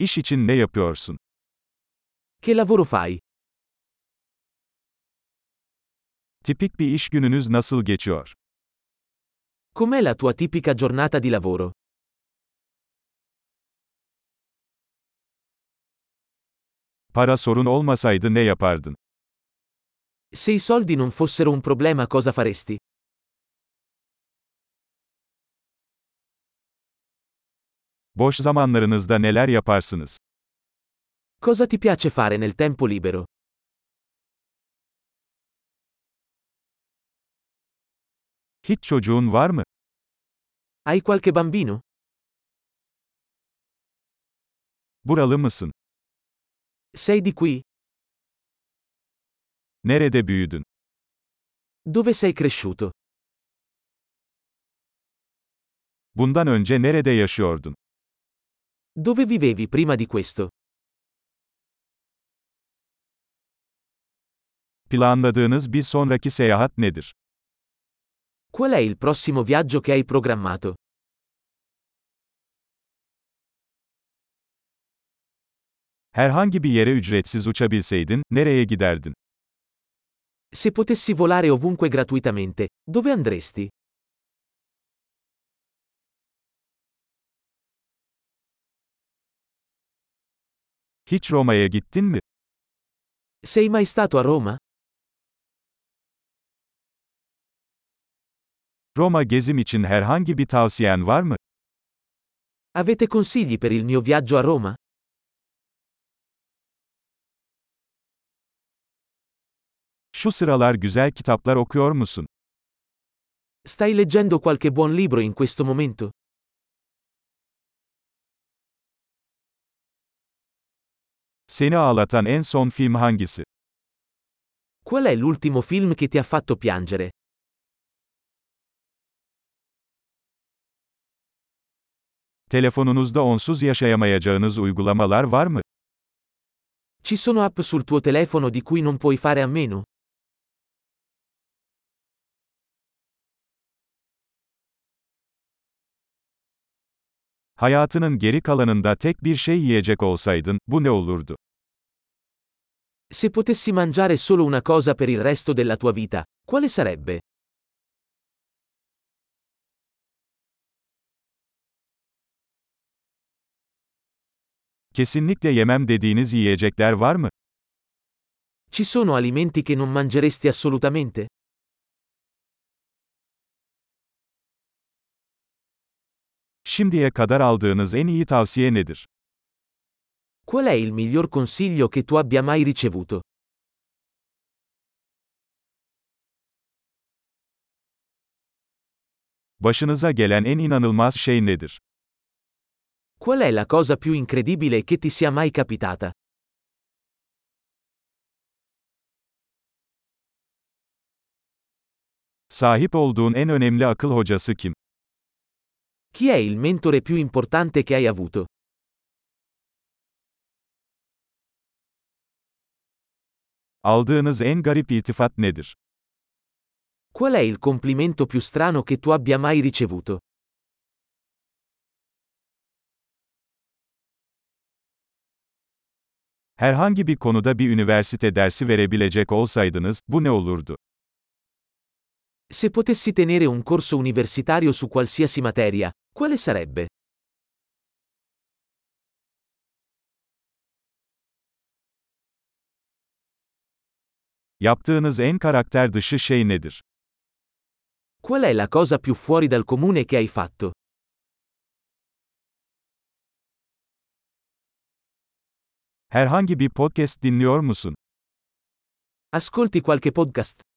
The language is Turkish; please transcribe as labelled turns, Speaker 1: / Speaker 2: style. Speaker 1: İş için ne yapıyorsun?
Speaker 2: Che lavoro fai?
Speaker 1: Tipik bir iş gününüz nasıl geçiyor?
Speaker 2: Com'è la tua tipica giornata di lavoro?
Speaker 1: Para sorun olmasaydı ne yapardın?
Speaker 2: Se i soldi non fossero un problema cosa faresti?
Speaker 1: Boş zamanlarınızda neler yaparsınız?
Speaker 2: Cosa ti piace fare nel tempo libero?
Speaker 1: Hiç çocuğun var mı?
Speaker 2: Hai qualche bambino?
Speaker 1: Buralı mısın?
Speaker 2: Sei di qui?
Speaker 1: Nerede büyüdün?
Speaker 2: Dove sei cresciuto?
Speaker 1: Bundan önce nerede yaşıyordun?
Speaker 2: Dove vivevi prima di questo?
Speaker 1: Planladığınız bir sonraki seyahat nedir?
Speaker 2: Qual è il prossimo viaggio che hai programmato?
Speaker 1: Herhangi bir yere ücretsiz uçabilseydin, nereye giderdin?
Speaker 2: Se potessi volare ovunque gratuitamente, dove andresti?
Speaker 1: Hiç Roma'ya gittin mi?
Speaker 2: Sei mai stato a Roma?
Speaker 1: Roma gezim için herhangi bir tavsiyen var mı?
Speaker 2: Avete consigli per il mio viaggio a Roma?
Speaker 1: Şu sıralar güzel kitaplar okuyor musun?
Speaker 2: Stai leggendo qualche buon libro in questo momento?
Speaker 1: Seni ağlatan en son film hangisi?
Speaker 2: Qual è l'ultimo film che ti ha fatto piangere?
Speaker 1: Telefonunuzda onsuz yaşayamayacağınız uygulamalar var mı?
Speaker 2: Ci sono app sul tuo telefono di cui non puoi fare a meno?
Speaker 1: Hayatının geri kalanında tek bir şey yiyecek olsaydın, bu ne olurdu?
Speaker 2: Se potessi mangiare solo una cosa per il resto della tua vita, quale sarebbe?
Speaker 1: Kesinlikle yemem dediğiniz yiyecekler var mı?
Speaker 2: Ci sono alimenti che non mangeresti assolutamente?
Speaker 1: Şimdiye kadar aldığınız en iyi tavsiye nedir?
Speaker 2: Qual è il miglior consiglio che tu abbia mai ricevuto?
Speaker 1: Başınıza gelen en inanılmaz şey nedir?
Speaker 2: Qual è la cosa più incredibile che ti sia mai capitata?
Speaker 1: Sahip olduğun en önemli akıl hocası kim?
Speaker 2: Chi è il mentore più importante che hai avuto?
Speaker 1: Aldığınız en garip iltifat nedir?
Speaker 2: Qual è il complimento più strano che tu abbia mai ricevuto?
Speaker 1: Herhangi bir konuda bir üniversite dersi verebilecek olsaydınız, bu ne olurdu?
Speaker 2: Se potessi tenere un corso universitario su qualsiasi materia, quale sarebbe?
Speaker 1: Yaptığınız en karakter dışı şey nedir?
Speaker 2: Qual è la cosa più fuori dal comune che hai fatto?
Speaker 1: Herhangi bir podcast dinliyor musun?
Speaker 2: Ascolti qualche podcast?